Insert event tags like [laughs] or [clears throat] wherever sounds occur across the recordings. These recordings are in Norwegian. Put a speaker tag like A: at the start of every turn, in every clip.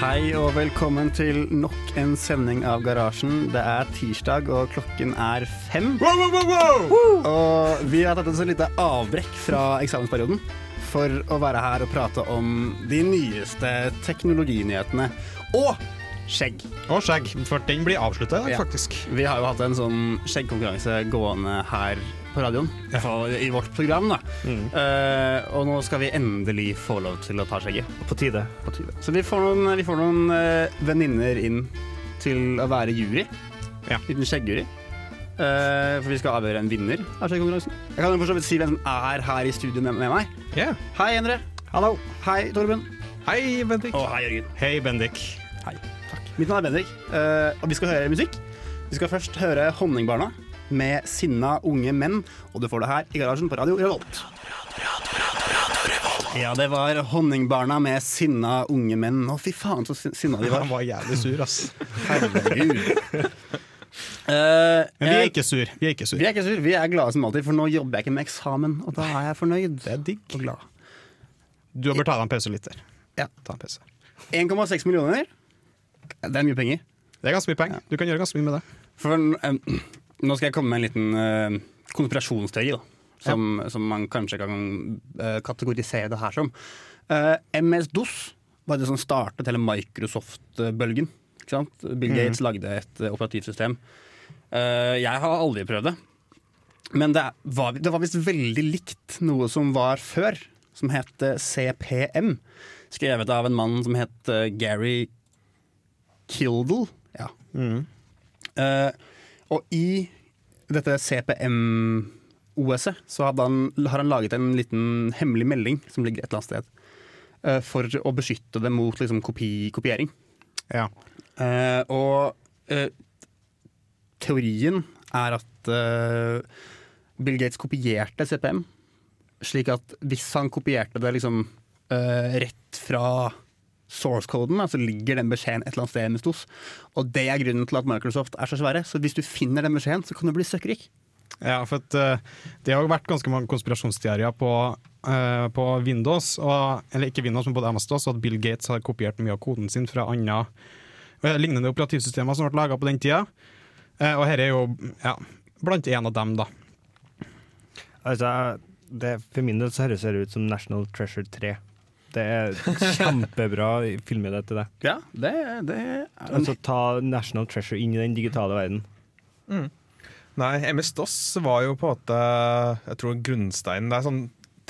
A: Hei og velkommen til nok en sending av Garasjen. Det er tirsdag, og klokken er fem.
B: Wow, wow, wow, wow!
A: Og vi har tatt en sånn lite avbrekk fra eksamensperioden for å være her og prate om de nyeste teknologinyhetene. Og skjegg.
B: Og skjegg. For den blir avslutta i dag,
A: Ja.
B: faktisk.
A: Vi har jo hatt en sånn skjeggkonkurranse gående her på radioen. i hvert fall I vårt program, da. Eh, og nå skal vi endelig få lov til å ta skjegget.
C: På tide.
A: På tide. Så vi får noen, vi får noen eh, venninner inn til å være jury.
B: Ja.
A: Liten skjeggjury. Eh, for vi skal avgjøre en vinner av skjeggkonkurransen. Jeg kan jo for så vidt si hvem som er her i studio med, med meg.
B: Ja.
A: Hei, Endre.
B: Hallo.
A: Hei, Torben.
B: Hei, Bendik.
A: Og hei, Jørgen.
B: Hei, Bendik.
A: Hei.
B: [laughs]
A: Takk. Mitt navn er Bendik, eh, og vi skal høre musikk. Vi skal først høre Honningbarna med 'Sinna unge menn', og du får det her i garasjen på Radio Revolt. Ja, det var Honningbarna med 'Sinna unge menn'. Å, fy faen, så sin- sinna de var.
B: var jævlig sur, ass. [laughs]
A: Eh,
B: Men vi er
A: [laughs] jeg-
B: ikke sur. Vi er ikke sur.
A: vi er ikke sur. Vi er glade som alltid, for nå jobber jeg ikke med eksamen, og da er jeg fornøyd.
B: Det er digg.
A: Og glad.
B: Du bør ta deg en pause litt der.
A: Ja.
B: Ta en pause.
A: 1,6 millioner. Det er mye penger.
B: Det er ganske mye penger. Du kan gjøre ganske mye med det.
A: For eh, nå skal jeg komme med en liten eh, konspirasjonsteori, da. Som, som man kanskje kan eh, kategorisere det her som. Eh, MS-DOS var det som startet hele Microsoft-bølgen. Ikke sant? Bill Gates lagde et eh, operativsystem. Eh, jeg har aldri prøvd det. Men det er- var, det var visst veldig likt noe som var før, som het eh, CPM. Skrevet av en mann som het eh, Gary Kildall. Ja, Eh, og i dette CPM-OS-et så hadde han, har han laget en liten hemmelig melding som ligger et eller annet sted, eh, for å beskytte det mot liksom, kopi, kopiering.
B: Ja.
A: Eh, og eh, teorien er at eh, Bill Gates kopierte CPM, slik at hvis han kopierte det liksom eh, rett fra source-koden, så ligger den beskjeden et eller annet sted hos oss. Og det er grunnen til at Microsoft er så svære. Så hvis du finner den beskjeden, så kan du bli søkkrik.
B: Ja, for at, eh, det har jo vært ganske mange konspirasjonsteorier på, eh, på Windows, og, eller ikke Windows, men på MS-DOS, og at Bill Gates har kopiert mye av koden sin fra andre eh, lignende operativsystemer som ble laga på den tida. Eh, og dette er jo ja, blant en av dem, da.
C: Altså, det, for min del så høres det ut som National Treasure 3. Det er kjempebra filmidé til det.
A: Ja, det, det er
C: Altså ta National Treasure inn i den digitale verden.
D: Nei, MS-DOS var jo på en måte Jeg tror grunnsteinen Det er sånn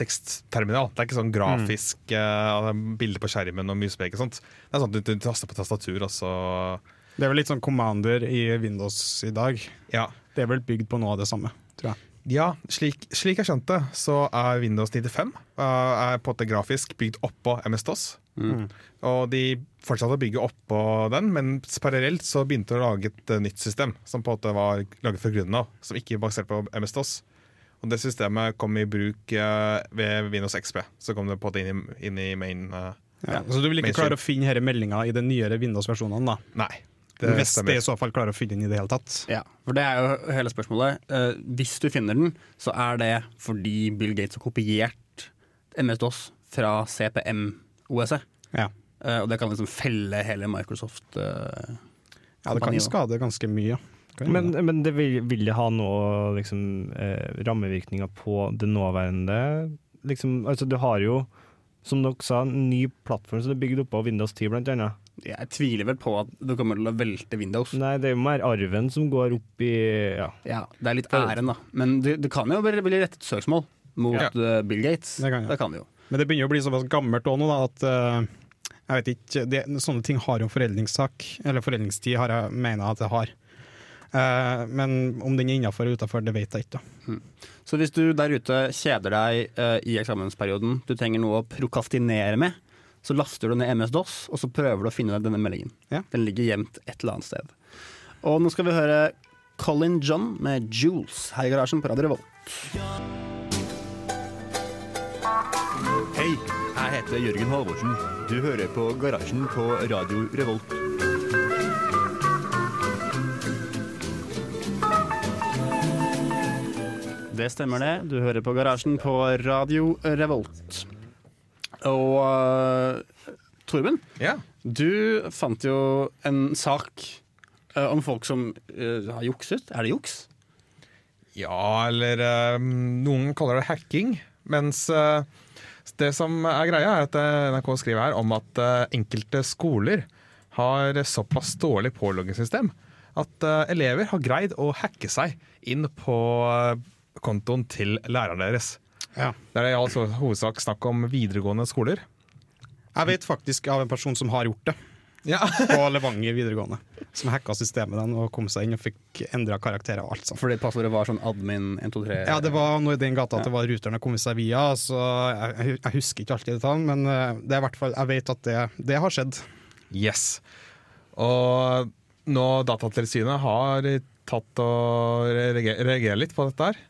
D: tekstterminal. Det er ikke sånn grafisk eh, bilde på skjermen og muspek og sånt. Det er sånn at du taster på tastatur, og så
B: Det er vel litt sånn Commander i Windows i dag.
D: Ja.
B: Det er vel bygd på noe av det samme, tror jeg.
D: Ja, slik, slik jeg skjønte, så er Windows 95 eh, er på en måte grafisk bygd oppå MS-DOS. Og de fortsatte å bygge oppå den, men parallelt så begynte de å lage et eh, nytt system som på en måte var laget fra grunnen av, som ikke var basert på MS-DOS. Og det systemet kom i bruk eh, ved Windows XP. Så kom det på en måte inn i, inn i main eh,
B: Ja. Så du vil ikke
D: Mainstream.
B: klare å finne denne meldinga i de nyere Windows-versjonene, da?
D: Nei.
B: Hvis de i så fall klarer å finne den i det hele tatt.
A: Ja, for det er jo hele spørsmålet. Eh, hvis du finner den, så er det fordi Bill Gates har kopiert MS-DOS fra CPM-OSE.
B: Ja.
A: E. Eh, og det kan liksom felle hele Microsoft. eh,
B: ja, det kan
A: Kompani, da.
B: skade ganske mye. Kan gjøre
C: Men,
B: det.
C: men det vil, vil det ha noe liksom, eh, rammevirkninger på det nåværende? Liksom, altså, du har jo, som dere sa, en ny plattform som er bygd opp av Windows 10 blant annet.
A: jeg tviler vel på at det kommer til å velte Windows.
C: Nei, det er jo mer arven som går opp i ja.
A: Ja, Det er litt æren, da. Men det, det kan jo bli bli rettet søksmål mot
D: Ja.
A: eh, Bill Gates.
B: Det kan, ja.
A: det kan det jo.
B: Men det begynner jo å bli såpass gammelt òg nå, da, at eh, jeg vet ikke det, Sånne ting har jo foreldringssak, eller foreldringstid har jeg mener at det har. Eh, men om den er innafor eller utafor, det vet jeg ikke. da.
A: Så hvis du der ute kjeder deg eh, i eksamensperioden, du trenger noe å prokastinere med, så laster du ned MS-DOS, og så prøver du å finne deg denne meldingen.
B: Ja.
A: Den ligger gjemt et eller annet sted. Og nå skal vi høre Colin John med Jules her i garasjen på Radio Revolt.
E: Hei, jeg heter Jørgen Halvorsen. Du hører på Garasjen på Radio Revolt.
A: Det stemmer det. Du hører på Garasjen på Radio Revolt. Og eh, Torben,
D: Ja.
A: du fant jo en sak eh, om folk som eh, har jukset. Er det juks?
D: ja, eller eh, noen kaller det hacking. Mens eh, det som er greia, er at eh, NRK skriver her om at eh, enkelte skoler har såpass dårlig påloggingssystem at eh, elever har greid å hacke seg inn på eh, kontoen til læreren deres.
B: Ja.
D: Det er i all hovedsak snakk om videregående skoler.
B: Jeg vet faktisk av en person som har gjort det,
D: Ja,
B: på Levanger videregående. Som hacka systemet den og kom seg inn og fikk endra karakterer og alt sånt.
A: Fordi passordet var sånn admin 123?
B: Ja, det var noe i den gata at det var ruteren har kommet seg via, så jeg, jeg husker ikke alltid detaljen, men eh, det er i hvert fall, jeg vet at det, det har skjedd.
D: Yes. Og nå Datatilsynet har tatt og reage- reagerer litt på dette her.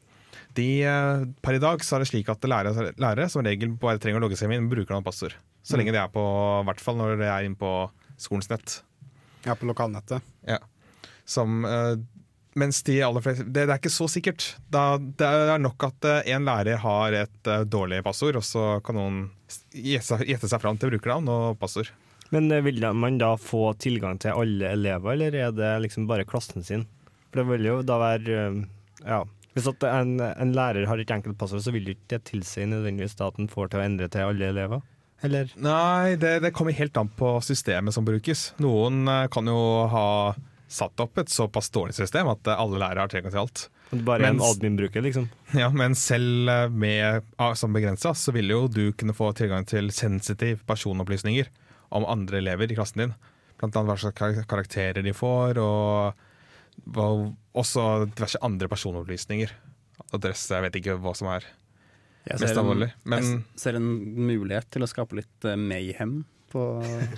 D: De, eh, per i dag så er det slik at lærere, lærere som regel bare trenger å logge seg inn med brukernavn og passord. Så lenge det er på, i hvert fall når det er inne på skolens nett.
B: Ja, på lokalnettet.
D: Ja. Som, eh, mens de aller fleste det, det er ikke så sikkert. Da, det er nok at eh, en lærer har et eh, dårlig passord, og så kan noen gjette seg- gjette seg fram til brukernavn og passord.
C: Men eh, vil da- man da få tilgang til alle elever, eller er det liksom bare klassen sin? For det vil jo da være eh, Ja. Hvis at en, en lærer har et enkeltpassord, så vil jo ikke det tilsi nødvendigvis da at en får til å endre til alle elever? Eller?
D: Nei, det, det kommer helt an på systemet som brukes. Noen eh, kan jo ha satt opp et såpass dårlig system at eh, alle lærere har tilgang til alt. [laughs]
C: At det bare er en
D: Mens-
C: admin-bruker, liksom?
D: Ja, men selv eh, med, ah, som begrensa, så vil jo du kunne få tilgang til sensitive personopplysninger om andre elever i klassen din. Blant annet hva slags kar- karakterer de får, og hva, også diverse andre personopplysninger. Adresse, jeg vet ikke hva som er
A: Jeg
D: mest
A: ser en-
D: alvorlig. Men
A: Jeg s- ser en mulighet til å skape litt eh, mayhem på
D: [laughs]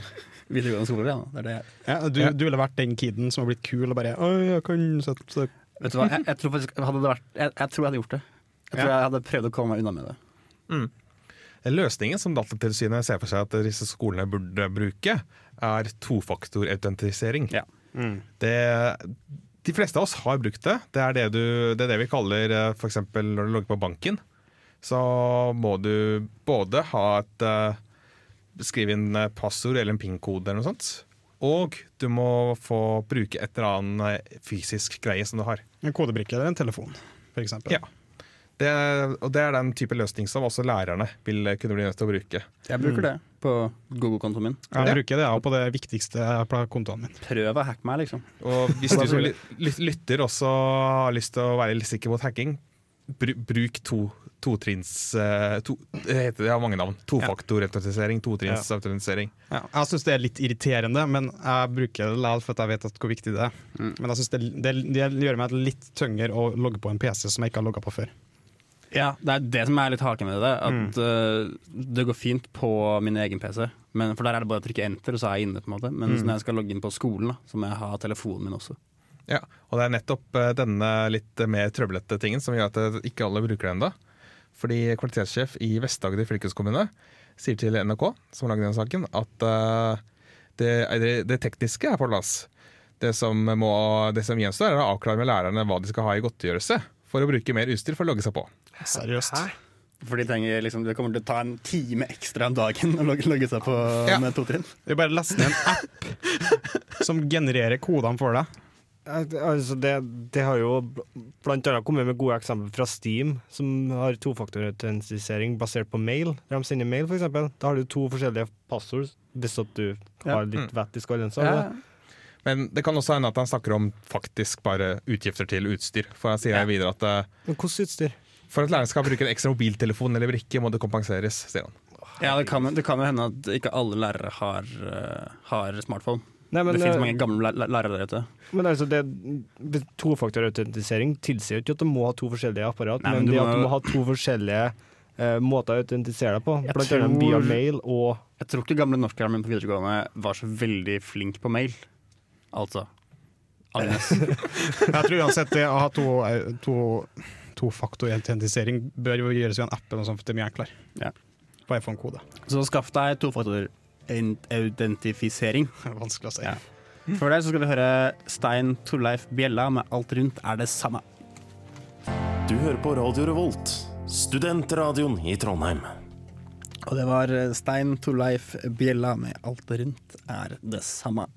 A: videregående skoler. Ja. Det er det. jeg-
B: Ja, du,
D: Ja.
B: du ville vært den kiden som har blitt kul og bare Oi, jeg kan sette
A: Vet du hva, jeg, jeg, tror faktisk, hadde det vært, jeg, jeg tror jeg hadde gjort det. Jeg tror jeg hadde prøvd å komme meg unna med det.
D: Løsningen som Datatilsynet ser for seg at disse skolene burde bruke, er tofaktorautentisering.
A: Ja.
B: Mm.
D: Det- De fleste av oss har brukt det. Det er det, du, det, er det vi kaller f.eks. når du logger på banken. Så må du både ha et eh, skrive inn eh, passord eller en PIN-kode eller noe sånt. Og du må få bruke et eller annet eh, fysisk greie som du har.
B: en kodebrikke eller en telefon, for eksempel.
D: Ja. Det, og det er den type løsning som også lærerne vil eh, kunne bli nødt til å bruke.
A: Jeg bruker det på Google-kontoen min.
B: Jeg bruker det ja, på det viktigste på kontoen min.
A: Prøv å hacke meg, liksom.
D: Og hvis du som ly- ly- lytter også har lyst til å være litt sikker mot hacking, bru- bruk to totrinns eh, to, Det heter det har mange navn. Tofaktorautentisering, totrinnsautentisering.
B: Ja, jeg syns det er litt irriterende, men jeg bruker det likevel for at jeg vet at hvor viktig det er. Men jeg synes det, det, det gjør meg litt tyngre å logge på en PC som jeg ikke har logga på før.
A: Ja, Det er det som er litt haken med det. At eh, Det går fint på min egen PC, men, for der er det bare å trykke enter, og så er jeg inne. på en måte Men når jeg skal logge inn på skolen, da, så må jeg ha telefonen min også.
D: Ja, og det er nettopp eh, denne litt mer trøblete tingen som gjør at eh, ikke alle bruker det ennå. Fordi kvalitetssjef i Vest-Agder fylkeskommune sier til NRK, som lagde den saken, at eh, det, det, det tekniske er på plass. Det som, må, det som gjenstår, er å avklare med lærerne hva de skal ha i godtgjørelse for å bruke mer utstyr for å logge seg på.
B: Seriøst.
A: For de trenger liksom, det kommer til å ta en time ekstra om dagen å logge, logge seg på
D: Ja.
A: med to trinn.
B: Vi bare laster ned en app som genererer kodene for deg.
C: Ja, det- Altså det, det har jo bl- blant annet kommet med gode eksempler fra Steam, som har tofaktorautentisering basert på mail. Der de sender mail, f.eks. Da har du to forskjellige passord, hvis at du har litt vett i skallen. Så, har du det.
D: Men det kan også hende at han snakker om faktisk bare utgifter til utstyr. For han sier videre at eh,
C: Men hvordan utstyr?
D: for at læreren skal bruke en ekstra mobiltelefon eller brikke, må det kompenseres, sier han.
A: Ja, det kan, det kan jo hende at ikke alle lærere har, eh, har smartphone.
C: Nei, men,
A: det finnes
C: eh,
A: mange gamle læ- læ- lærere der ute.
C: Men altså, det, tofaktorautentisering tilsier jo ikke at du må ha to forskjellige apparat,
A: Nei, men
C: men,
A: du
C: det
A: må-
C: at du må ha to forskjellige eh, måter å autentisere deg på,
A: Jeg
C: blant annet via
A: tror-
C: mail og
A: Jeg tror ikke gamle norsklæreren min på videregående var så veldig flink på mail. Altså Agnes. [laughs]
B: Jeg tror uansett det å ha to, to, tofaktor-autentisering bør jo gjøres via en app, eller noe sånt, for det er mye enklere.
A: Ja.
B: På iPhone-kode. [laughs]
A: Så skaff deg tofaktorautentifisering.
B: Vanskelig å si.
A: Ja. Før det så skal vi høre Stein Torleif Bjella med 'Alt rundt er det samme'.
F: Du hører på Radio Revolt, studentradioen i Trondheim.
A: Og det var Stein Torleif Bjella med 'Alt rundt er det samme'.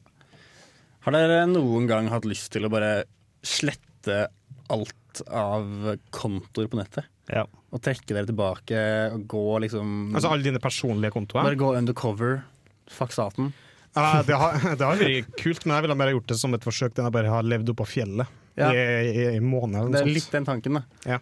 A: Har dere noen gang hatt lyst til å bare slette alt av kontoer på nettet?
C: Ja.
A: Og trekke dere tilbake og gå liksom
B: Altså alle dine personlige kontoer.
A: Bare gå undercover. Fuck staten.
B: Ja, det, har, [laughs] det har vært kult, men jeg ville mer gjort det som et forsøk den jeg bare har levd oppå fjellet
A: Ja.
B: i, i, i en måned eller
A: Det er
B: noe
A: litt
B: sånt.
A: den tanken, da.
B: Ja.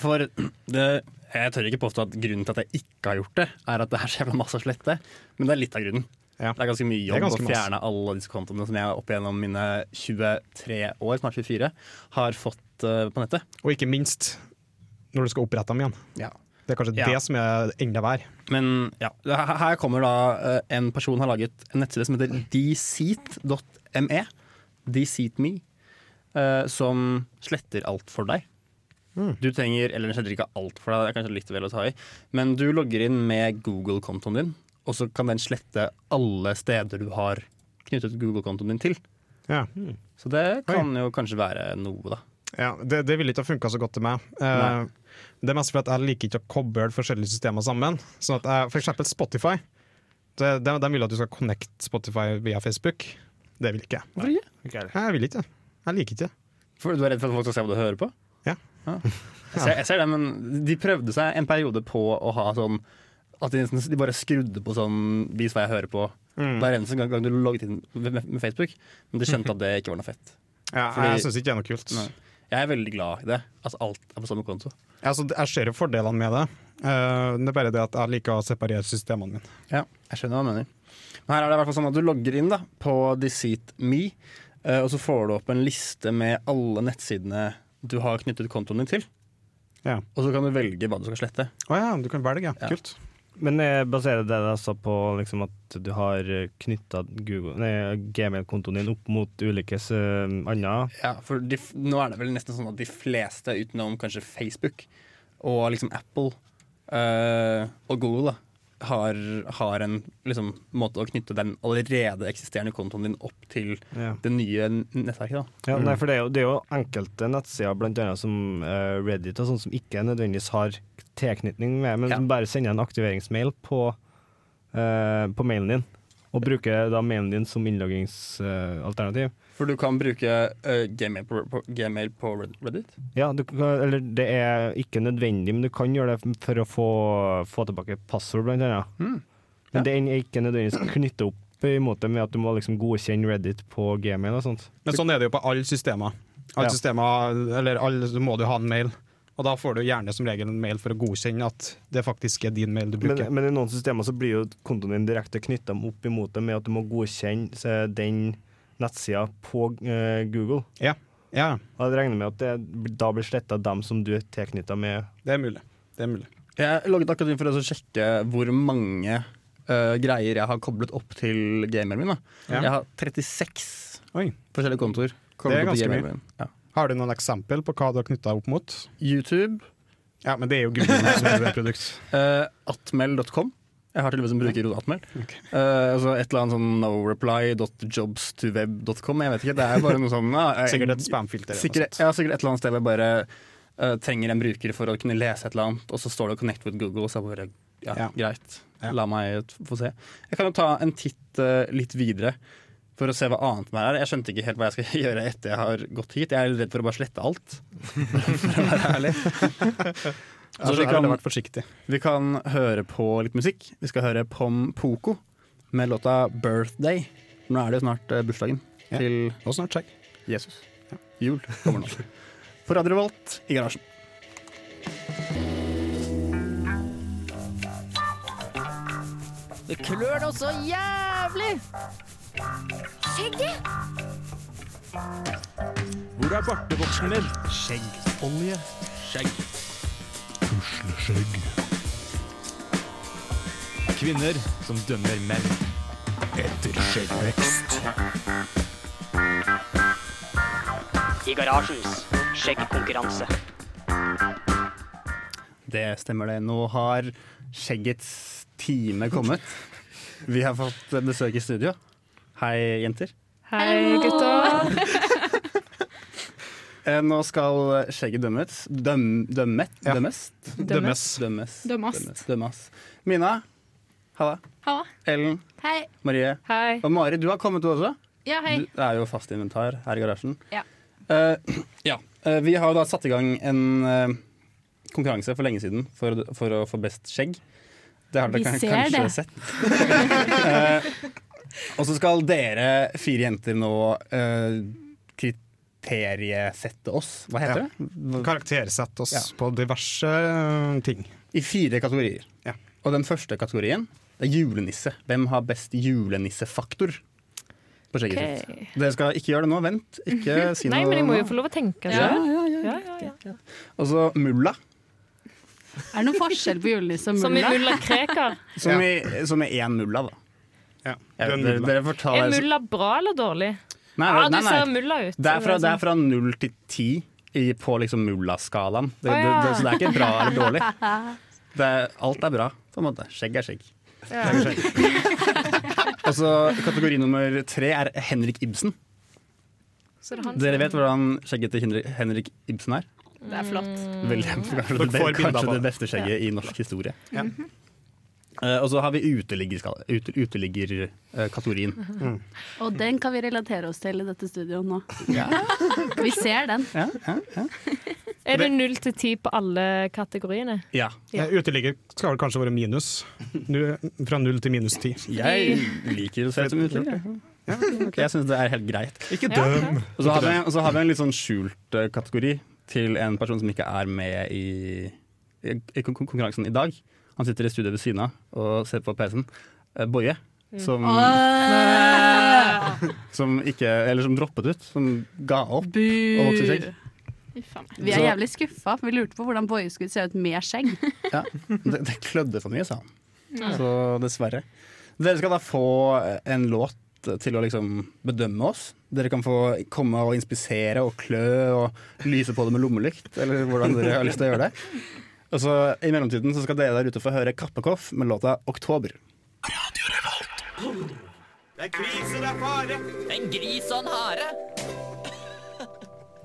A: For det, jeg tør ikke påstå at grunnen til at jeg ikke har gjort det, er at det er så jævla masse å slette, men det er litt av grunnen.
B: Ja.
A: Det er ganske mye
B: Det er
A: jobb
B: ganske
A: å
B: masse.
A: fjerne alle disse kontoene som jeg opp gjennom mine 23 år, snart 24, har fått eh, på nettet.
B: Og ikke minst når du skal opprette dem igjen. Det er kanskje
A: Ja.
B: det som er enda verre.
A: Men ja, her her kommer da eh, en person har laget en nettside som heter dseat.me, dseatme, eh, som sletter alt for deg. Du trenger, eller den sletter ikke alt for deg, det er kanskje litt vel å ta i, men du logger inn med Google-kontoen din, og så kan den slette alle steder du har knyttet Google-kontoen din til.
B: Ja.
A: Så det kan jo kanskje være noe, da.
B: Ja, det, det ville ikke ha funka så godt til meg. Eh,
A: Nei.
B: det er mest fordi at jeg liker ikke å koble forskjellige systemer sammen. Sånn at jeg, for eksempel Spotify. Det, de, de vil at du skal connecte Spotify via Facebook. Det vil ikke jeg.
A: Hvorfor ikke?
B: Jeg vil ikke. Jeg liker ikke.
A: For du er redd for at folk skal se hva du hører på?
B: Ja.
A: Jeg, ser, jeg ser det, men de prøvde seg en periode på å ha sånn At de, nesten- de bare skrudde på sånn 'vis hva jeg hører på' hver eneste gang, gang du logget inn med, med Facebook. Men de skjønte at det ikke var noe fett.
B: Ja,
A: Fordi-
B: jeg syns ikke det er noe kult.
A: Nei. Jeg er veldig glad i det. Altså alt er på samme konto.
B: Altså, jeg ser jo fordelene med det. Eh, det er bare det at jeg liker å separere systemene mine.
A: Ja, jeg skjønner hva du mener. Men her er det i hvert fall sånn at du logger inn da, på Deceit Me, eh, og så får du opp en liste med alle nettsidene du har knyttet kontoen din til.
B: Ja.
A: Og så kan du velge hva du skal slette.
B: Å ja, du kan velge.
A: Ja.
B: Kult.
C: Men jeg baserer det altså på liksom, at du har knytta Gmail-kontoen din opp mot ulike uh, andre
A: Ja, for de, f- nå er det vel nesten sånn at de fleste utenom kanskje Facebook og liksom Apple eh, og Google da, har, har en liksom, måte å knytte den allerede eksisterende kontoen din opp til
C: Ja.
A: det nye n- nettverket. Da.
C: Ja, nei, for det er, jo, det er jo enkelte nettsider, blant annet som eh, Reddit og sånn, som ikke nødvendigvis har tilknytning med, men
A: Ja.
C: som bare sender en aktiveringsmail på, eh, på mailen din. Og bruker da mailen din som innloggingsalternativ.
A: For du kan bruke eh, Gmail, på, på, Gmail på Red- Reddit.
C: ja, du kan, eller det er ikke nødvendig, men du kan gjøre det for å få, få tilbake passord, blant annet.
A: Mm. Ja.
C: Men den er ikke nødvendigvis knyttet opp imot det med at du må liksom godkjenne Reddit på Gmail og sånt.
B: Men sånn er det jo på alle systemer. Alle
C: Ja.
B: systemer, eller alle, så må du ha en mail. Og da får du gjerne som regel en mail for å godkjenne at det faktisk er din mail du
C: Men,
B: bruker.
C: men i noen systemer så blir jo kontoen din direkte knytta opp imot det med at du må godkjenne eh, den nettsida på eh, Google.
B: ja. ja,
C: Og jeg regner med at det da blir sletta dem som du er tilknytta
B: [laughs]
C: med.
B: det er mulig. Det er mulig.
A: Jeg logget akkurat inn for å sjekke hvor mange eh, greier jeg har koblet opp til Gmailen min. Da.
B: Ja.
A: Jeg har 36
B: Oi.
A: forskjellige kontoer.
B: Det er
A: koblet til
B: ganske
A: Gmailen
B: mye.
A: min. Ja.
B: Har du noen eksempel på hva du har knytta opp mot?
A: YouTube.
B: Ja, men det er jo Google som er det produkt.
A: Eh, atmel.com. Jeg har til og med som bruker ordet atmel.
B: Ok.
A: Eh, altså et eller annet sånn noreply.jobstoweb.com. Jeg vet ikke, det er bare noe sånn ja, jeg-
B: Sikkert et spamfilter. altså. eller noe
A: Sikkert,
B: sånt.
A: ja, sikkert et eller annet sted hvor jeg bare eh, trenger en bruker for å kunne lese et eller annet, og så står det 'connect with Google', så jeg bare ja,
B: Ja.
A: greit.
B: Ja.
A: La meg t- få se. Jeg kan jo ta en titt eh, litt videre for å se hva annet mer er. Jeg skjønte ikke helt hva jeg skal [laughs] gjøre etter jeg har gått hit. Jeg er redd for å bare slette alt, [laughs] for å være ærlig. Altså,
B: Ja,
A: Så
B: [laughs] så
A: vi
B: her har
A: kan-
B: du vært forsiktig.
A: vi kan høre på litt musikk. Vi skal høre Pom Poko med låta 'Birthday'. Nå er det jo snart eh, bursdagen
B: Ja.
A: til
B: Og snart sjekk.
A: Jesus. Jul kommer nå. På Radio Revolt i garasjen.
G: Det klør nå så jævlig! Skjegget?
H: Hvor er bartevoksen din? Skjegg. Olje. Skjegg. Pusleskjegg. Kvinner som dømmer menn. Etter skjeggvekst.
I: I garasjens skjeggkonkurranse.
A: Det stemmer det. Nå har skjeggets time kommet. Vi har fått besøk i studio. Hei, jenter.
J: Hei, gutta.
A: Eh, Nå skal skjegget dømmes. Døm, dømmet?
B: Ja.
A: Dømmes?
B: Dømmes.
A: Dømmes.
J: Dømmast.
A: Dømmes. Dømmes. Mina. Halla.
J: Halla.
A: Ellen.
G: Hei.
A: Marie.
J: Hei.
A: Og Mari, du har kommet du også.
G: Ja, hei.
A: Du er jo fast inventar her i garasjen.
G: Ja.
A: Eh, [clears throat] ja. Eh, vi har jo da satt i gang en eh, konkurranse for lenge siden for, for å få best skjegg. Det har dere
J: Vi
A: kan-
J: ser
A: kanskje
J: det.
A: sett. [laughs] Eh, og så skal dere fire jenter nå eh, kriteriesette oss. Hva heter
B: Ja.
A: det?
B: Karaktersett oss
A: Ja.
B: på diverse eh, ting.
A: I fire kategorier.
B: Ja.
A: Og den første kategorien det er julenisse. Hvem har best julenissefaktor? På skjegget sitt.
J: Ok.
A: Dere skal ikke gjøre det nå. Vent. Ikke
J: [laughs]
A: si noe
J: Nei, men jeg må
A: nå.
J: jo få lov å tenke
G: Ja,
J: selv. Ja, ja, ja.
A: Og så mulla,
G: Er det noen forskjell på julenisse og
J: Som i
G: mulla?
J: mulla Krekar.
A: som, i, som er én mulla, da.
B: Ja.
A: Jeg
B: Du er
A: vet,
B: en
A: dere,
B: mulla.
A: dere får ta
J: Er
A: nei,
J: mulla bra eller dårlig?
A: nei,
J: Ja, du
A: nei,
J: ser
A: nei.
J: mulla ut.
A: Det, er fra, det er fra null til ti i, på liksom mulla-skalaen. Det,
J: Å,
A: det,
J: ja.
A: det, så det er ikke bra eller dårlig.
J: [laughs]
A: Det er, alt er bra, på en måte. Skjegg er skjegg.
J: Ja.
A: Og så kategori nummer tre er Henrik Ibsen.
J: Så det er han-
A: Dere vet hvordan skjegget til Henrik- Henrik Ibsen er?
J: Det er flott.
G: Mm.
A: Veldig,
J: Mm.
A: kanskje
B: Dere
A: det,
B: får bilder på
A: kanskje
B: det.
A: det beste skjegget i norsk historie.
B: Ja.
A: Eh, og så har vi uteliggerskala- ute- uteliggerkategorien.
G: Og den kan vi relatere oss til i dette studioet nå. Vi ser den.
A: ja, ja, ja.
J: Er det null til ti på alle kategoriene?
A: ja.
J: Ja.
B: Eh, Uteligger skal vel kanskje være minus. Nu, fra null til minus ti.
A: Jeg liker å se ut som uteligger. jeg. [laughs] Jeg syns det er helt greit.
D: Ikke
J: Ja,
D: døm!
A: Og så har, vi, og så har vi en litt sånn skjult eh, kategori til en person som ikke er med i, i, i kon- kon- konkurransen i dag. Han sitter i studiet ved siden av og ser på PC-en. Eh, Boje, som, [laughs] som, ikke, eller som droppet ut. Som ga opp.
G: Bu!
A: Og vokser skjegg.
G: Vi er jævlig skuffa, for vi lurte på hvordan Boje skulle se ut med skjegg.
A: Ja, det, det klødde for mye, sa han. Så dessverre. Dere skal da få en låt til å liksom bedømme oss. Dere kan få komme og inspisere og klø og lyse på det med lommelykt, eller hvordan dere har lyst til å gjøre det. Og så I mellomtiden så skal dere der ute få høre Kappekoff med låta 'Oktober'.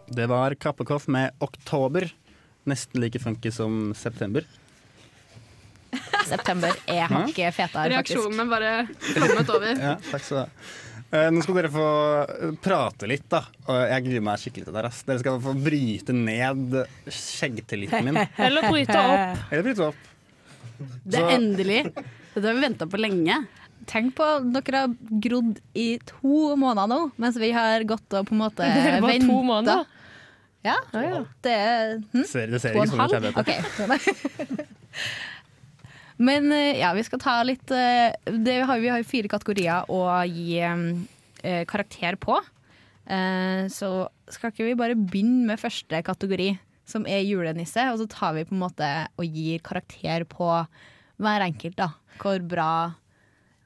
A: Det var Kappekoff med 'Oktober'. Nesten like funky som 'September'.
K: September er hakket fetere, faktisk.
J: Reaksjonen er bare kommet over.
A: Ja, takk skal du ha. Eh, Nå skal dere få eh, prate litt, da. Og jeg gruer meg skikkelig til det her. ass. Dere skal få bryte ned skjeggtilliten [laughs] min.
J: Eller bryte
A: [laughs]
J: opp.
A: Eller bryte opp.
G: Det er endelig. Dette har vi venta på lenge.
K: Tenk på, dere har grodd i to måneder nå, mens vi har gått og på en måte
J: [laughs] Det er bare to
K: ventet.
J: måneder.
K: Ja,
J: Ja, ja.
K: det er hm?
A: Ser, det ser
K: to og
A: ikke
K: en
A: sånn ut.
K: halv.
A: jeg vet det.
K: Ok. [laughs] Men eh, ja, vi skal ta litt eh, det har, Vi har jo fire kategorier å gi eh, karakter på. Eh, så skal ikke vi bare begynne med første kategori, som er julenisse, og så tar vi på en måte og gir karakter på hver enkelt, da. Hvor bra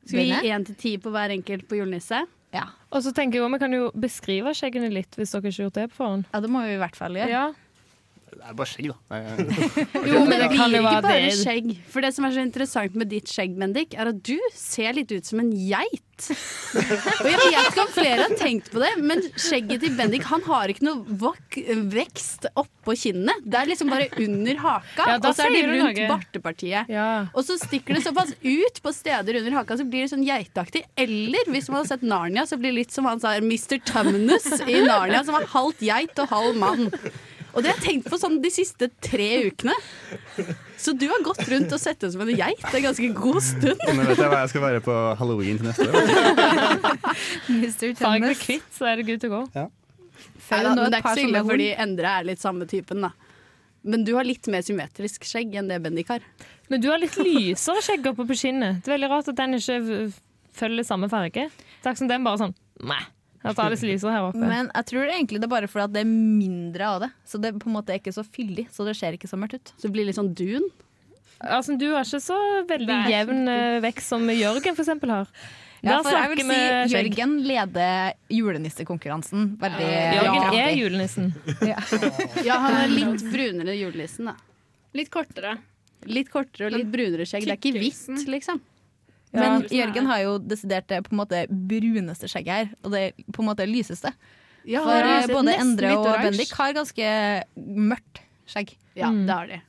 G: Skal vi
K: den
G: gi
K: er.
G: én til ti på hver enkelt på julenisse?
K: Ja.
J: Og så tenker jeg også, Vi kan jo beskrive skjeggene litt, hvis dere ikke har gjort det på forhånd.
K: ja, det må vi i hvert fall gjøre.
J: Ja.
A: Det er bare skjegg, da. Det er-
G: Jo, men det
J: det kan
G: blir
J: jo
G: ikke
J: være
G: bare
J: det.
G: skjegg. For det som er så interessant med ditt skjegg, Bendik, er at du ser litt ut som en
J: [laughs]
G: geit. Og jeg vet ikke om flere har tenkt på det, men skjegget til Bendik han har ikke noe vok vekst oppå kinnene. Det er liksom bare under haka,
J: Ja, da
G: og så er det
J: sier du
G: rundt
J: noe.
G: bartepartiet.
J: ja.
G: Og så stikker det såpass ut på steder under haka, så blir det sånn geitaktig. Eller hvis man har sett Narnia, så blir det litt som han sa, Mr. Tumnus i Narnia, som var halvt geit og halv mann. Og det har jeg tenkt på sånn de siste tre ukene. Så du har gått rundt og sett ut som en geit en ganske god stund.
A: Nå vet jeg hva jeg skal være på halloween til neste år.
J: Bare
K: Mr.
J: jeg blir
K: Thomas.
J: kvitt, så er det good to go.
K: Følg nå
G: men det er
K: et
G: ikke
K: par
G: så
K: som
G: ille,
K: er
G: fordi
K: horn.
G: Endre er litt samme typen, da. Men du har litt mer symmetrisk skjegg enn det Bendik har.
J: Men du har litt lysere skjegg oppe på skinnet. Det er veldig rart at den ikke v- følger samme farge. Takk som den bare sånn Nei. Jeg tar litt lyser her oppe.
K: Men jeg tror egentlig det er bare fordi at det er mindre av det. Så det på en måte er ikke så fyldig, så det ser ikke så mørkt ut.
G: Så det blir litt sånn dun?
J: Altså, du har ikke så veldig jevn eh, vekst som Jørgen for eksempel har.
K: Ja,
J: Der
K: for jeg
J: snakker
K: vil
J: vi
K: si
J: skjegg.
K: Jørgen leder julenissekonkurransen veldig
J: Jørgen
K: kraftig.
J: er julenissen.
G: Ja, han er litt brunere julenissen, da.
L: Litt kortere.
G: Litt kortere og litt brunere skjegg. Det er ikke
J: sånn.
G: hvitt, liksom.
K: Men Jørgen har jo desidert det på en måte bruneste skjegget her, og det på en måte lyseste.
G: Ja,
K: For
G: det er
K: eh, både
G: nesten
K: Endre
G: litt
K: og
G: oransje.
K: Bendik har ganske mørkt
G: [laughs]
K: skjegg.
G: Ja, Mm. det har de.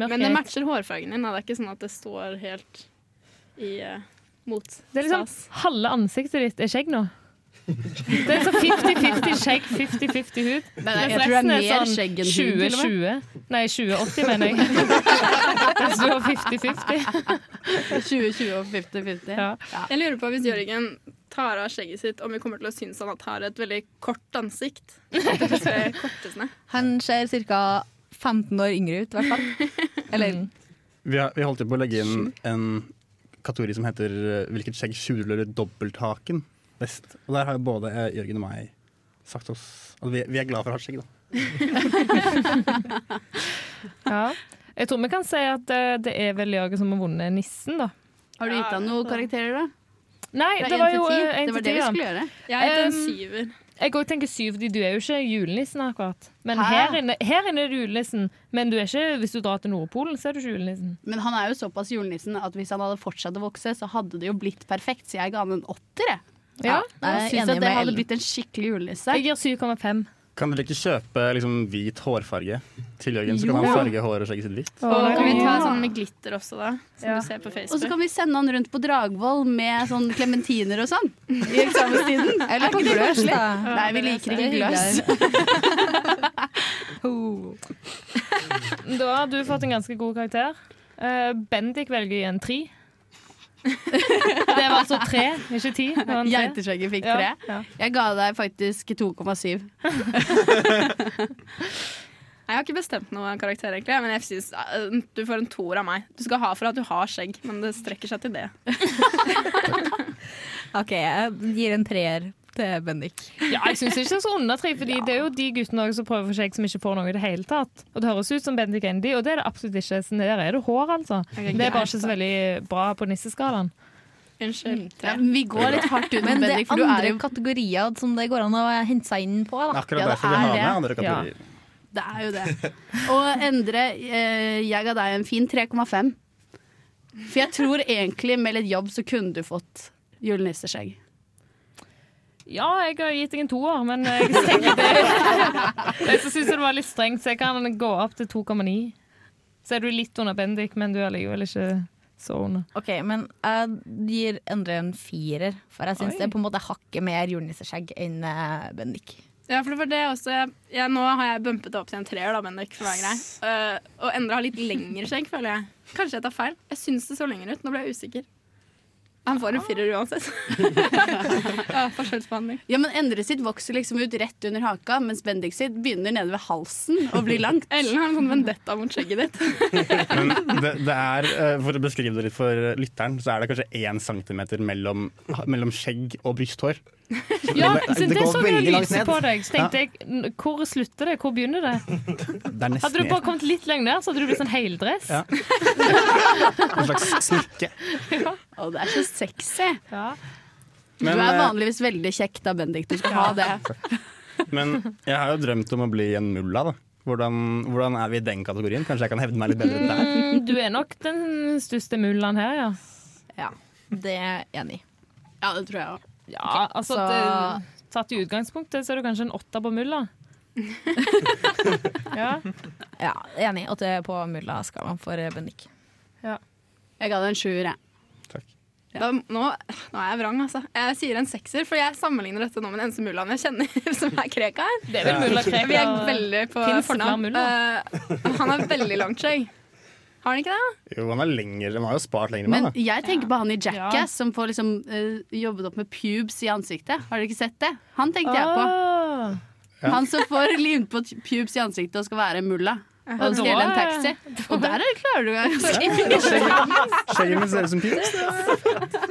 L: Men det matcher hårfargen din. da. Det er ikke sånn at det står helt i eh, mot.
J: Det er liksom halve ansiktet ditt er skjegg nå. Det er så 50-50 skjegg, 50-50 hud.
G: Nei, nei, jeg
J: Mens
G: tror det er
J: resten
G: mer skjegg enn hud, til og
J: 20-20. Nei, 20-80 mener jeg. Det står
L: [laughs]
J: 50-50.
G: 20-20 og 50-50.
L: Ja.
G: Ja.
L: Jeg lurer på hvis Jørgen tar av skjegget sitt, om vi kommer til å synes han at har et veldig kort ansikt. At det kanskje er kortesne.
K: Han ser ca. 15 år yngre ut, i hvert fall.
G: [laughs]
K: Eller
A: Vi, har, vi holdt jo på å legge inn en kategori som heter eh, 'Hvilket skjegg skjuler dobbelthaken best'? Og der har jo både eh, Jørgen og meg sagt oss at vi, vi er glad for å ha skjegg, da.
J: Ja. Jeg tror vi kan si at eh, det er vel Jørgen som har vunnet nissen, da.
G: Har du gitt han noen karakterer, da?
J: Nei,
G: Fra
J: det
G: en
J: var
G: til
J: jo
G: ti?
J: eh, en
G: Det var
J: til
G: det
J: ti,
G: vi
J: ja.
G: skulle gjøre.
K: eh,
L: Jeg heter en
J: Um,
L: syver.
J: Jeg går og tenker syv, fordi du er jo ikke julenissen akkurat. Men
G: Hæ?
J: her inne, her inne er du julenissen, men du er ikke, hvis du drar til Nordpolen, så er du ikke julenissen.
G: Men han er jo såpass julenissen at hvis han hadde fortsatt å vokse, så hadde det jo blitt perfekt. Så jeg ga han en åtter, jeg.
J: Ja,
G: jeg
J: jeg er
G: syns
J: enig
G: at
J: med
G: det hadde
J: Ellen.
G: blitt en skikkelig julenisse.
J: Jeg gir 7,5.
A: Kan dere ikke kjøpe liksom, hvit hårfarge til Jørgen, så
G: Jo.
A: kan han farge håret og skjegget sitt hvitt?
L: Og kan vi ta
G: Ja.
L: sånn med glitter også, da? Som du ser på Facebook.
G: Og så kan vi sende han rundt på Dragvoll med sånn klementiner og sånn i
J: [laughs]
G: eksamenstiden.
K: Eller
G: Er ikke det
K: gløs,
G: koselig?
K: da.
G: Nei, vi liker ikke gløs. [laughs]
J: Da har du fått en ganske god karakter. Eh, Bendik velger igjen
G: [laughs]
J: tre. Det var altså tre, ikke ti. det var en tre.
G: Geiteskjegget fikk
J: Ja,
G: tre.
J: ja.
G: Jeg ga deg faktisk [laughs] 2,7.
L: Jeg har ikke bestemt noen karakter, egentlig, men jeg synes eh, du får en toer av meg. Du skal ha for at du har skjegg, men det strekker seg til det.
K: OK, jeg gir en treer til Bendik.
J: Ja, jeg syns ikke det er så under tre, fordi det er jo de guttene også som prøver for seg, som ikke får noe i det hele tatt. Og det høres ut som Bendik Endi, og det er det absolutt ikke. Så der er det hår, altså.
L: Ok,
J: Det er bare
L: greit,
J: ikke så veldig bra på nisseskalaen.
L: Unnskyld.
G: Ja, men vi går litt hardt ut med
K: Men det
G: Bendik,
K: er
G: for du er
K: andre
G: jo-
K: kategorier som det går an å hente seg inn på. Da.
A: Akkurat derfor vi har med andre kategorier.
G: Det er jo det. Og Endre, eh, jeg ga deg en fin 3,5. For jeg tror egentlig med litt jobb så kunne du fått julenisseskjegg.
J: Ja, jeg har gitt deg en toer, men jeg tenker det
L: [laughs]
J: Jeg så synes jeg det var litt strengt, så jeg kan gå opp til 2,9. Så er du litt under Bendik, men du er likevel ikke så under.
K: Ok, Men jeg gir Endre en firer, for jeg syns
J: Oi.
K: det er på en måte hakket mer julenisseskjegg enn eh, Bendik.
L: Ja, for det var det også jeg, jeg, Nå har jeg bumpet det opp til en treer, da, Bendik. For å være grei. Eh, og Endre har litt lengre skjegg, føler jeg. Kanskje jeg tar feil. Jeg syns det så lenger ut. Nå ble jeg usikker. Han får en firer uansett. [laughs] ja, forskjellsbehandling.
G: Ja, men Endre sitt vokser liksom ut rett under haka, mens Bendik sitt begynner nede ved halsen og blir langt.
L: Ellen har en sånn vendetta mot skjegget ditt.
A: Men det, det er, eh, for å beskrive det litt for eh, lytteren, så er det kanskje én centimeter mellom, mellom skjegg og brysthår.
J: Ja,
A: det-
J: så
A: det
J: det,
A: går
J: så jo
A: veldig langt
J: lyset
A: ned.
J: på deg. Så
A: Ja.
J: tenkte jeg, n- hvor slutter det? Hvor begynner det?
A: Det er
J: Hadde
A: nesten
J: du bare kommet litt lenger ned, så hadde du blitt sånn heldress.
A: Ja. en slags smykke.
G: Å, det er så sexy.
A: Men,
G: du er
A: eh,
G: vanligvis veldig kjekk da, Bendik. Du skal ha det.
A: Men jeg har jo drømt om å bli en mulla, da. Hvordan, hvordan er vi i den kategorien? Kanskje jeg kan hevde meg litt bedre der?
J: Mm, Du er nok den største mullaen her, ja.
K: Ja, det er jeg enig i.
G: Ja, det tror jeg òg.
J: Ja, altså
K: så-
J: det, Tatt i utgangspunktet så er du kanskje en åtta på
L: [laughs]
J: mulla. ja.
K: Ja, enig. Åtte på mulla-skalaen for eh, Bendik.
G: Jeg ga deg en sjuer, jeg.
L: Da, nå, nå er jeg vrang, altså. Jeg sier en sekser, for jeg sammenligner dette nå med den eneste mullaen jeg kjenner som er kreka her.
J: Det er vel mulla Krekar.
L: Vi er veldig på
J: Finnes det flere
L: fornavn.
J: mulla?
L: Eh, han har veldig langt skjegg. Har han ikke det?
A: Jo, han er lenger, han har jo spart lenger enn
G: Men
A: meg, da.
G: jeg tenker på han i Jackass som får liksom eh, jobbet opp med pubes i ansiktet. Har dere ikke sett det? Han tenkte jeg på.
A: Ah.
J: Ah,
A: Ja.
G: Han som får limt på t- pubes i ansiktet og skal være mulla. Og
J: Det
G: han skal gjelde en
J: var-
G: taxi. Og der er det klarer du deg.
A: Skjegget mitt ser ut som pubes.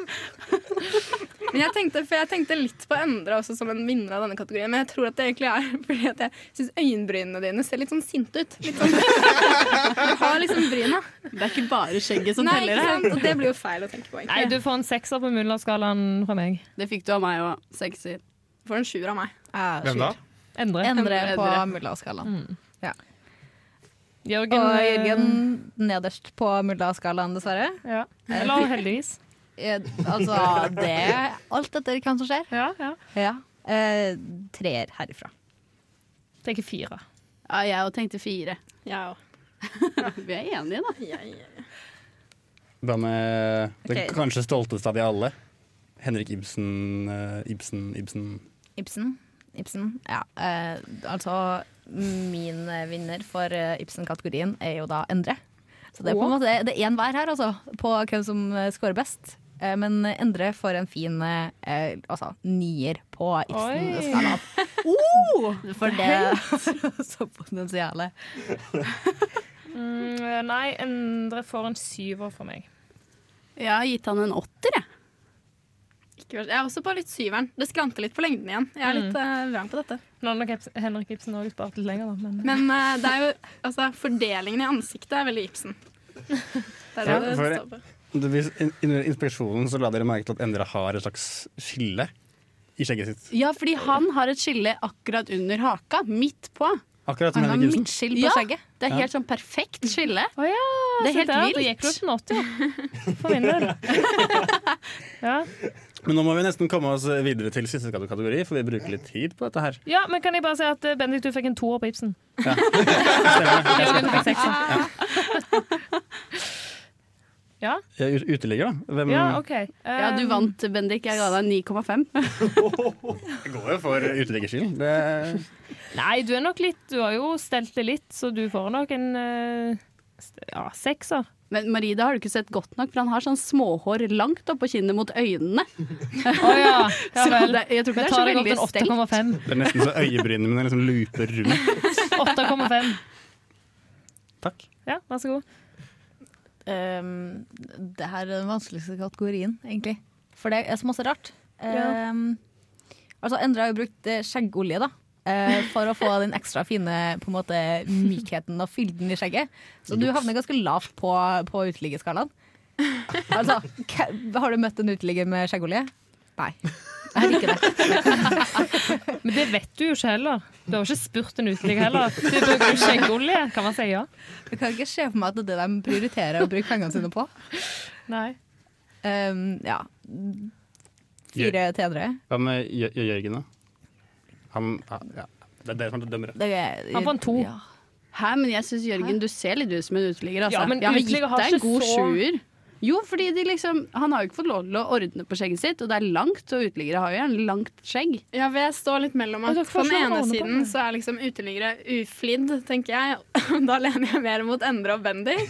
L: Men jeg tenkte, for jeg tenkte litt på Endre også som en vinner av denne kategorien. Men jeg tror at det egentlig er [laughs] fordi at jeg syns øyenbrynene dine ser litt sånn sinte ut. Litt sånn. Du har liksom bryna.
G: Det er ikke bare skjegget som
L: Nei,
G: teller
L: ikke sant?
G: her.
L: Og det blir jo feil å tenke på, egentlig.
J: Nei, du får en sekser på Mulla-skalaen fra meg.
G: Det fikk du av meg òg. Sekser.
L: Får en sjuer av meg.
J: Hvem da? Endre.
K: Endre på
J: Endre.
K: mulla-skalaen. Ja.
J: Jørgen,
K: og
J: eh,
K: Jørgen nederst på mulla-skalaen, dessverre.
J: Ja. Eller heldigvis.
K: altså, det Alt etter hva som skjer.
J: Ja, ja.
K: Eh, treer herifra.
J: Tenker fire.
G: Ja, jeg òg tenkte fire.
L: Jeg òg.
G: [laughs] Vi er enige, da.
A: Hva med
K: Ok.
A: den kanskje stolteste av de alle? Henrik Ibsen, eh, Ibsen, Ibsen.
K: Ibsen. Ibsen, ja. Eh, altså, min eh, vinner for eh, Ibsen-kategorien er jo da Endre. Så det er på en
J: Åh.
K: måte det er én hver her, altså, på hvem som eh, scorer best. Eh, men Endre får en fin eh, eh, altså, nier på Ibsen-skalaen. For det er [laughs] så potensialet.
J: Mm, nei, Endre får en syver fra meg.
G: Jeg har gitt han en åtter, jeg.
L: Ikke verst. Jeg er også på litt syveren. Det skranter litt på lengden igjen. Jeg er
G: Mm.
L: litt eh, vrang på dette.
J: Nå har nok Ibsen- Henrik Ibsen også spart litt lenger, da. Men,
L: Men eh, det er jo altså, fordelingen i ansiktet er veldig
G: [laughs]
L: Ibsen. Det er det det står på.
A: Under inspeksjonen så la dere merke til at Endre har et slags skille i skjegget sitt.
G: Ja, fordi han har et skille akkurat under haka, midt på.
A: Akkurat som
G: Han har
A: Henrik Ibsen.
G: midtskill
K: Ja,
G: på skjegget. Det er
A: Ja.
G: helt sånn perfekt skille.
J: ja,
G: det er
J: så
G: helt
J: der,
G: vilt.
J: Da gikk det opp til 80, ja. [laughs] For min del. Ja.
A: Men nå må vi nesten komme oss videre til siste kategori, for vi bruker litt tid på dette her.
J: ja, men kan jeg bare si at eh, Bendik, du fikk en toer på Ibsen. [laughs]
A: Stemmer
J: Jørgen fikk sekser. Ja,
A: Ja, ut- Uteligger, da. Hvem
J: ja OK. Eh,
G: Ja, du vant, Bendik. Jeg ga deg 9,5.
A: Jeg går jo for uteliggerskillen. Det
J: Nei, du er nok litt Du har jo stelt det litt, så du får nok en eh, st- ja, sekser.
G: Men Marie, det har du ikke sett godt nok, for han har sånn småhår langt oppå kinnet mot øynene.
J: Å ja. [laughs] ja
G: Så
J: vel.
G: det- jeg tror ikke det er
J: Jeg
G: så
J: tar godt
G: veldig
J: en 8,5.
A: det er nesten så øyebrynene mine liksom looper rundt.
J: 8,5.
A: Takk.
J: Ja, vær så god.
K: Um, det her er den vanskeligste kategorien, egentlig. For det er så masse rart.
J: Ja.
K: Um, altså, Endre har jo brukt eh, skjeggolje, da. eh, for å få den ekstra fine på en måte, mykheten og fylden i skjegget. Så du havner ganske lavt på, på uteliggerskalaen. Altså, k- har du møtt en uteligger med skjeggolje? Nei. Jeg har ikke det.
J: Men det vet du jo ikke heller. Du har jo ikke spurt en uteligger heller. Du bruker jo skjeggolje. Kan man si ja?
K: Jeg kan ikke se for meg at det er det de prioriterer å bruke pengene sine på.
J: Nei.
K: Um, ja. Fire til Endre.
A: Hva med Jø- Jø- Jørgen, da? Han ja, Det er dere som er dømmere.
K: Det er-
J: Han fant to.
K: Ja.
G: Hæ, men jeg syns Jørgen, du ser litt ut som en uteligger, altså.
J: Ja, men
G: jeg har
J: uteligger
G: gitt
J: har
G: deg en
J: ikke
G: god
J: så-
G: sjuer. Jo, fordi de liksom, han har jo ikke fått lov til å ordne på skjegget sitt, og det er langt, og uteliggere har jo gjerne langt skjegg.
L: Ja, for jeg står litt mellom
J: Og
L: at
J: dere
L: på
J: får
L: den
J: slå
L: ene
J: hånda på
L: siden
J: meg.
L: så er liksom uteliggere uflidd, tenker jeg. Da lener jeg mer mot Endre og
K: [laughs]
L: Bendy. Men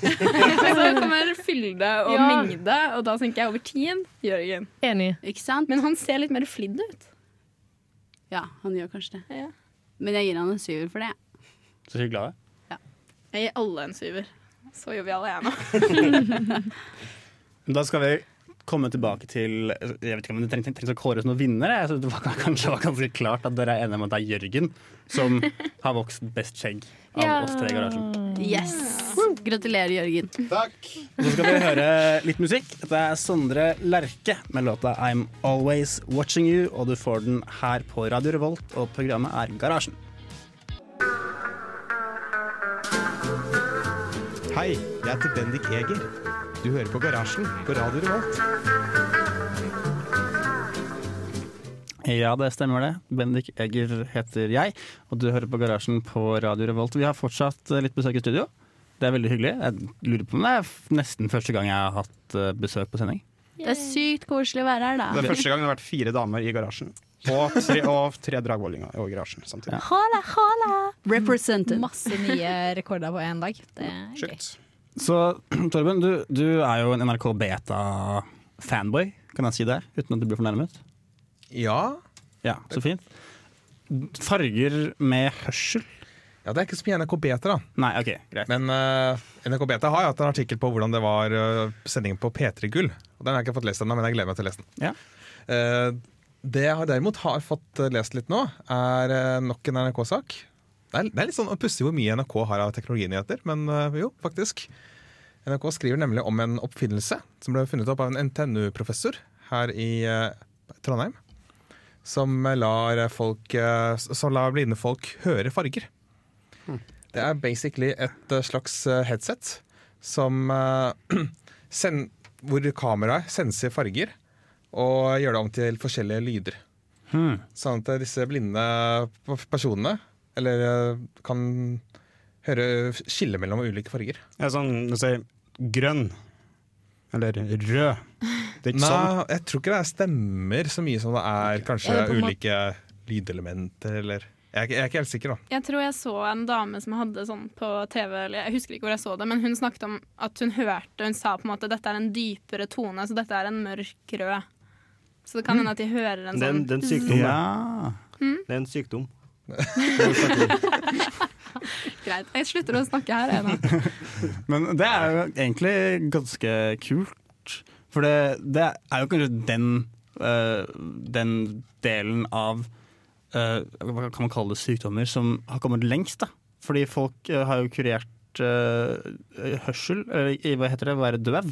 L: så kommer fylde og
J: Ja.
L: mengde, og da tenker jeg over tid Jørgen.
J: Enig.
G: Ikke sant?
L: Men han ser litt mer flidd ut.
G: Ja, han gjør kanskje det.
L: Ja.
G: Men jeg gir han en syver for det.
A: Så hyggelig av deg.
L: Jeg gir alle en syver. Så jovial er jeg nå.
A: [laughs] Da skal vi komme tilbake til Jeg vet ikke om det trengs, trengs å kåres noen vinnere. Jeg synes det var, [laughs] kanskje var ganske klart at dere er enige om at det er Jørgen som har vokst best skjegg av oss tre i garasjen.
G: Yes!
L: Mm.
G: Gratulerer, Jørgen.
A: Og Så skal vi høre litt musikk. Dette er Sondre Lerche med låta 'I'm Always Watching You', og du får den her på Radio Revolt, og programmet er Garasjen.
H: Hei, jeg heter Bendik Eger. Du hører på Garasjen på Radio Revolt.
A: Ja, det stemmer det. Bendik Egger heter jeg, og du hører på Garasjen på Radio Revolt. Vi har fortsatt eh, litt besøk i studio. Det er veldig hyggelig. Jeg lurer på om det er f- nesten første gang jeg har hatt eh, besøk på sending.
G: Det er sykt koselig å være her,
B: Det
G: da.
B: er første gang det har vært fire damer i garasjen. Og tre,
A: [laughs]
B: og tre dragvollinger i garasjen samtidig.
K: Hala, hala!
G: Represented.
K: Masse nye rekorder på én dag. Det er gøy.
B: Sjukt.
A: Så Torben, du, du er jo en NRK Beta-fanboy, kan jeg si det? Uten at du blir fornærmet?
D: Ja.
A: Ja, så fint. Farger med hørsel?
D: ja, det er ikke så mye NRK Beta, da.
A: Nei, OK, greit.
D: Men eh, NRK Beta har jo hatt en artikkel på hvordan det var eh, sendingen på P3 Gull. Og Den har jeg ikke fått lest ennå, men jeg gleder meg til å lese den.
A: Ja.
D: Eh, det jeg har derimot har fått eh, lest litt nå, er eh, nok en NRK-sak. Det, er- det er litt sånn pussig hvor mye NRK har av teknologinyheter, men eh, jo, faktisk. NRK skriver nemlig om en oppfinnelse som ble funnet opp av en NTNU-professor her i eh, Trondheim. Som lar, folk, eh, som lar blinde folk høre farger. Det er basically et eh, slags eh, headset som eh, [clears throat] send, hvor kameraet senser farger og gjør det om til forskjellige lyder.
L: Hmm.
D: Sånn at eh, disse blinde p- personene eller, eh, kan høre skille mellom ulike farger.
B: Er det sånn du sier grønn eller rød? Det er ikke
D: Nei,
B: sånn.
D: jeg tror ikke det er stemmer så mye som det er kanskje
L: Er det på en måte-
D: ulike lydelementer eller jeg er, ikke, jeg er ikke helt sikker, da.
L: Jeg tror jeg så en dame som hadde sånn på TV, eller jeg husker ikke hvor jeg så det, men hun snakket om at hun hørte, hun sa på en måte dette er en dypere tone, så dette er en mørk rød. Så det kan hende at de hører en
K: altså,
C: Det er
L: sånn
C: en- det er en sykdom, det.
L: zzz. Mm,
C: Det er en sykdom.
L: greit. Jeg slutter å snakke her, jeg nå.
A: Men det er jo egentlig ganske kult. For det, det er jo kanskje den, eh, den delen av eh, Hva kan man kalle det? Sykdommer som har kommet lengst. da. Fordi folk eh, har jo kurert eh, hørsel, eller i- hva heter det, være døv.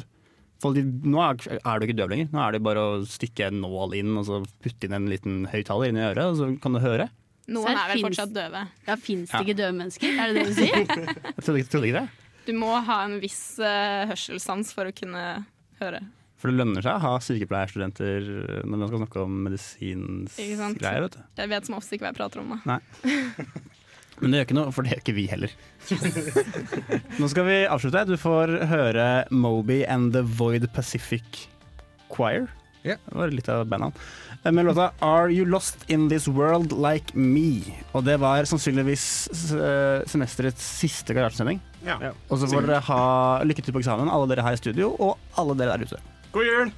A: Folk, de, nå er, er du ikke døv lenger. Nå er det bare å stikke en nål inn og så putte inn en liten høyttaler inn i øret, og så kan du høre.
L: Noen
G: Så
L: er vel
G: finnes-
L: fortsatt døve.
G: Ja, Fins det
A: Ja.
G: ikke døde mennesker? Er det det du sier?
A: Jeg trodde ikke, trodde ikke det.
L: Du må ha en viss eh, hørselssans for å kunne høre.
A: For det lønner seg å ha sykepleierstudenter eh, når man skal snakke om
L: Ikke sant?
A: medisinsgreier, vet du.
L: Jeg vet som oftest ikke hva jeg prater om, da.
A: Nei.
L: [laughs]
A: Men det gjør ikke noe, for det gjør ikke vi heller. Nå skal vi avslutte. Du får høre Moby and The Void Pacific Choir. Det var litt av bandene. Med låta 'Are You Lost In This World Like Me'. Og det var sannsynligvis eh, semesterets siste garasjesending.
B: Ja.
A: Og så får dere ha lykke til på eksamen, alle dere her i studio, og alle dere der ute.
B: God jul!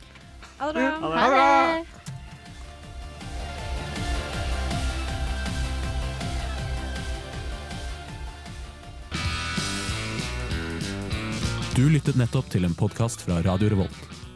L: Ha det bra.
B: Ha det bra!
M: Du lyttet nettopp til en podkast fra Radio Revolt.